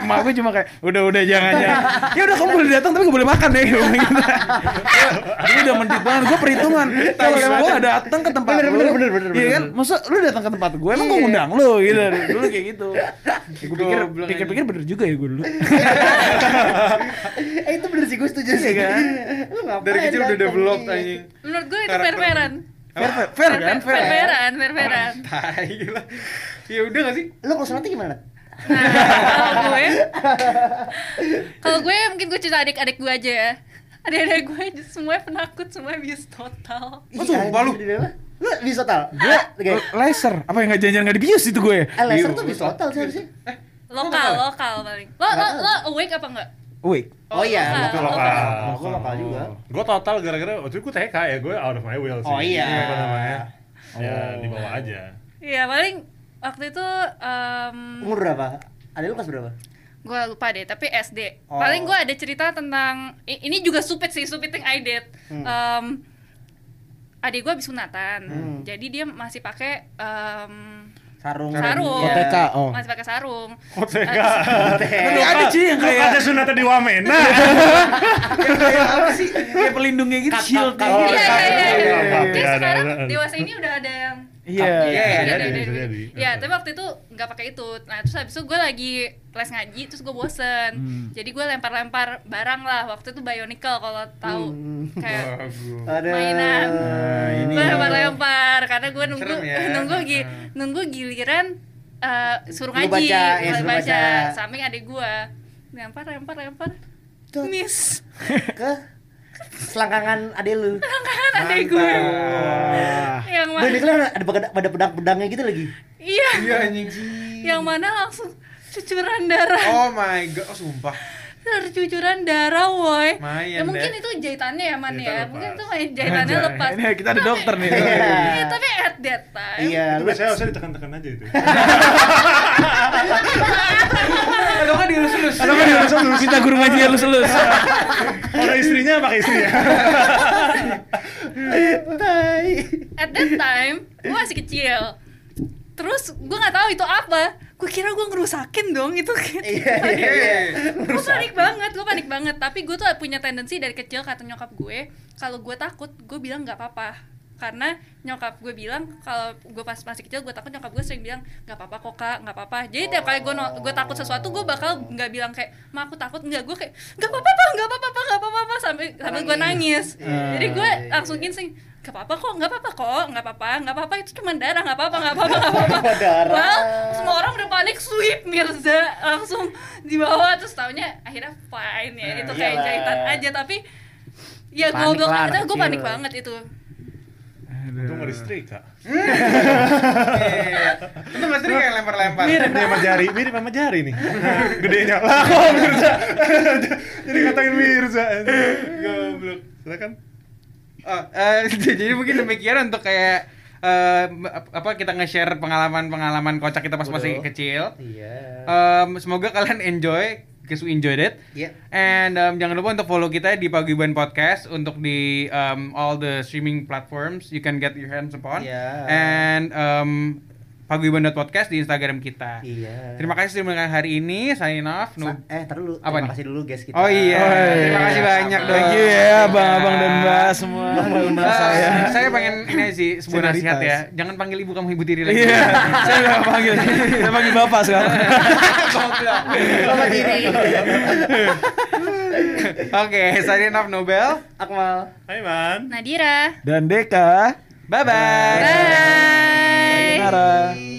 Speaker 6: Emak gue cuma kayak, udah udah jangan ya. Ya udah kamu boleh datang tapi gak boleh makan ya. Gue bilang gitu. Gue udah mendit banget, gue perhitungan. Terus gue datang ke tempat
Speaker 2: Bener,
Speaker 6: lu,
Speaker 2: bener, bener, bener,
Speaker 6: iya kan?
Speaker 2: bener.
Speaker 6: Masa lu datang ke tempat gue, emang gue
Speaker 2: Iya.
Speaker 6: undang lu gitu. Dulu kayak gitu. Gue pikir,
Speaker 3: Goblok,
Speaker 6: pikir-pikir bener juga ya gue dulu.
Speaker 2: Eh itu bener sih gue setuju sih kan. Lu ngapain? Iya.
Speaker 3: dari kecil udah
Speaker 2: datang
Speaker 3: develop
Speaker 2: nih?
Speaker 3: anjing
Speaker 5: menurut gue itu
Speaker 3: Karakter.
Speaker 5: fair-fairan
Speaker 6: Fair, fair, fair kan? Fair.
Speaker 5: fair-fairan fair-fairan
Speaker 3: tai gila ya udah gak sih
Speaker 2: Lu kalau sunatnya gimana?
Speaker 5: nah kalau gue kalau gue mungkin gue cerita adik-adik gue aja ya adik-adik gue semua penakut semua bius total
Speaker 3: Oh, sumpah lu.
Speaker 2: Iya, Lu bisa total?
Speaker 6: Gue
Speaker 2: Oke.
Speaker 6: laser. Apa yang nggak janjian nggak dibius itu gue?
Speaker 2: Eh, laser tuh
Speaker 3: Iya,
Speaker 2: bisa total sih harusnya.
Speaker 5: lokal lokal paling lo lo lo awake apa enggak
Speaker 6: Wait.
Speaker 2: Oh iya,
Speaker 5: lokal.
Speaker 2: itu lokal. Oh, Gue lokal juga.
Speaker 4: Gue total gara-gara waktu itu gue TK ya, gue out of my will sih.
Speaker 2: Oh iya.
Speaker 4: Apa namanya? Ya, dibawa aja.
Speaker 5: iya paling waktu itu em,
Speaker 2: Umur berapa? Ada lu kelas berapa?
Speaker 5: gue lupa deh tapi SD
Speaker 2: Oh.
Speaker 5: paling gue ada cerita tentang i- ini juga stupid sih stupid thing I did Em, adik gue habis sunatan
Speaker 2: Hmm.
Speaker 5: jadi dia masih pakai em,
Speaker 2: Sarung.
Speaker 5: sarung
Speaker 2: Iya.
Speaker 6: OTK, oh.
Speaker 5: masih pakai sarung
Speaker 2: Oh,
Speaker 4: OTK.
Speaker 2: Oke.
Speaker 6: Eh, ada Iya. sih yang kayak-
Speaker 4: ada sunatan di Wamena.
Speaker 6: Kayak apa sih? Kayak pelindungnya gitu,
Speaker 2: Cut, cut,
Speaker 6: shield
Speaker 2: cut.
Speaker 5: Iya, iya,
Speaker 2: Iya,
Speaker 5: iya, iya.
Speaker 2: iya, iya.
Speaker 5: tapi
Speaker 4: Iya, ada,
Speaker 5: sekarang
Speaker 4: ada, ada.
Speaker 5: dewasa ini udah ada yang
Speaker 6: Iya.
Speaker 5: Iya,
Speaker 3: iya,
Speaker 5: iya,
Speaker 4: jadi,
Speaker 5: iya,
Speaker 4: bisa
Speaker 5: iya.
Speaker 4: jadi.
Speaker 5: Iya, tapi waktu itu nggak pakai itu. Nah, terus habis itu gue lagi les ngaji, terus gue bosen. Jadi gue lempar-lempar barang lah. Waktu itu bionicle kalau tahu
Speaker 2: Hmm.
Speaker 5: kayak
Speaker 2: Ada
Speaker 5: Mainan.
Speaker 6: ini.
Speaker 5: gue lempar-lempar karena gue nunggu
Speaker 3: Serem ya.
Speaker 5: nunggu gi-
Speaker 3: Hmm.
Speaker 5: nunggu giliran eh, suruh
Speaker 2: Lu
Speaker 5: ngaji,
Speaker 2: baca, ya,
Speaker 5: mulai
Speaker 2: suruh
Speaker 5: baca.
Speaker 2: baca.
Speaker 5: Samping adik gue lempar, lempar, lempar.
Speaker 2: Tuh.
Speaker 5: Miss,
Speaker 2: ke selangkangan ade lu.
Speaker 5: kan adik gue yang
Speaker 2: Gue ini kan
Speaker 5: mana?
Speaker 2: ada peda- ada pedang-pedangnya gitu lagi.
Speaker 5: Iya,
Speaker 3: Iya anjing.
Speaker 5: yang mana langsung cucuran darah.
Speaker 3: Oh my god, oh sumpah.
Speaker 5: tercucuran darah woi ya
Speaker 3: Mayan,
Speaker 5: mungkin
Speaker 3: Dad.
Speaker 5: itu jahitannya ya man
Speaker 4: Jahitan
Speaker 5: ya
Speaker 4: lepas.
Speaker 5: mungkin itu main jahitannya lepas
Speaker 6: Ini kita ada dokter nih.
Speaker 5: Iya, tapi at that time
Speaker 2: Iya,
Speaker 4: Itu
Speaker 2: lu
Speaker 4: biasanya harusnya ditekan-tekan aja itu.
Speaker 3: Atau kan diurus-urus.
Speaker 6: Kita guru ngaji halus-halus.
Speaker 4: Orang istrinya pakai istrinya.
Speaker 2: tai.
Speaker 5: at that time gue masih kecil terus gue nggak tahu itu apa gue kira gue ngerusakin dong itu gitu.
Speaker 2: Iya, iya, iya.
Speaker 5: gue panik banget gue panik banget tapi gue tuh punya tendensi dari kecil kata nyokap gue kalau gue takut gue bilang nggak apa-apa karena nyokap gue bilang kalau gue pas masih kecil gue takut nyokap gue sering bilang nggak apa-apa kok kak nggak apa-apa jadi tiap kali gue gue takut sesuatu gue bakal nggak bilang kayak ma aku takut nggak gue kayak nggak apa-apa Pa, nggak apa-apa Pa, nggak apa-apa Pa," sampai sampai gue nangis jadi gue langsung insting nggak apa-apa kok nggak apa-apa kok nggak apa-apa nggak apa-apa itu cuma darah nggak apa-apa nggak apa-apa nggak apa-apa
Speaker 2: Darah.
Speaker 5: Well, semua orang udah panik sweep Mirza langsung dibawa terus taunya akhirnya fine ya itu kayak
Speaker 2: iyalah.
Speaker 5: jahitan aja tapi
Speaker 2: Nah, iya
Speaker 5: ya
Speaker 2: Panik
Speaker 5: goblok
Speaker 2: lah,
Speaker 5: aja gue
Speaker 2: kecil.
Speaker 5: panik banget itu
Speaker 4: Untung nggak disetrika.
Speaker 3: Iya. Itu Mas Tri kayak lempar-lempar.
Speaker 4: Mirip nih sama jari, mirip sama jari nih. Gedenya. Lah kok Mirza. Jadi ngatain Mirza. Goblok. Silakan.
Speaker 3: Oh, eh, jadi mungkin demikian untuk kayak eh, apa kita nge-share pengalaman-pengalaman kocak kita pas masih
Speaker 2: Waduh.
Speaker 3: kecil.
Speaker 2: Iya.
Speaker 3: Em, semoga kalian enjoy, guys we enjoyed it.
Speaker 2: Iya.
Speaker 3: And um, jangan lupa untuk follow kita di Paguyuban Podcast untuk di um, all the streaming platforms you can get your hands upon.
Speaker 2: Yeah.
Speaker 3: And um, Paguyuban.podcast di Instagram kita.
Speaker 2: Iya.
Speaker 3: Terima kasih sudah mendengarkan hari ini. Sign off.
Speaker 2: Sa-
Speaker 3: Nu-
Speaker 2: eh, taruh dulu.
Speaker 3: Apa
Speaker 2: Terima
Speaker 3: nih?
Speaker 2: kasih dulu guys kita.
Speaker 3: Oh iya.
Speaker 6: Oh, iya.
Speaker 3: Terima kasih banyak
Speaker 2: Sama.
Speaker 3: dong.
Speaker 6: Thank you ya, abang-abang dan mbak semua.
Speaker 2: Abang-abang, mbak,
Speaker 3: Eh,
Speaker 2: saya.
Speaker 3: saya pengen ini sih sebuah
Speaker 6: Senaritas.
Speaker 3: nasihat ya. Jangan panggil ibu kamu ibu tiri lagi.
Speaker 6: Iya, saya nggak panggil, saya panggil bapak sekarang.
Speaker 3: Goblok.
Speaker 2: Selamat diri.
Speaker 3: Oke, sign off Nobel.
Speaker 2: Akmal.
Speaker 4: Hai man.
Speaker 5: Nadira
Speaker 6: Dan Deka,
Speaker 3: Bye bye.
Speaker 5: bye
Speaker 6: Nara.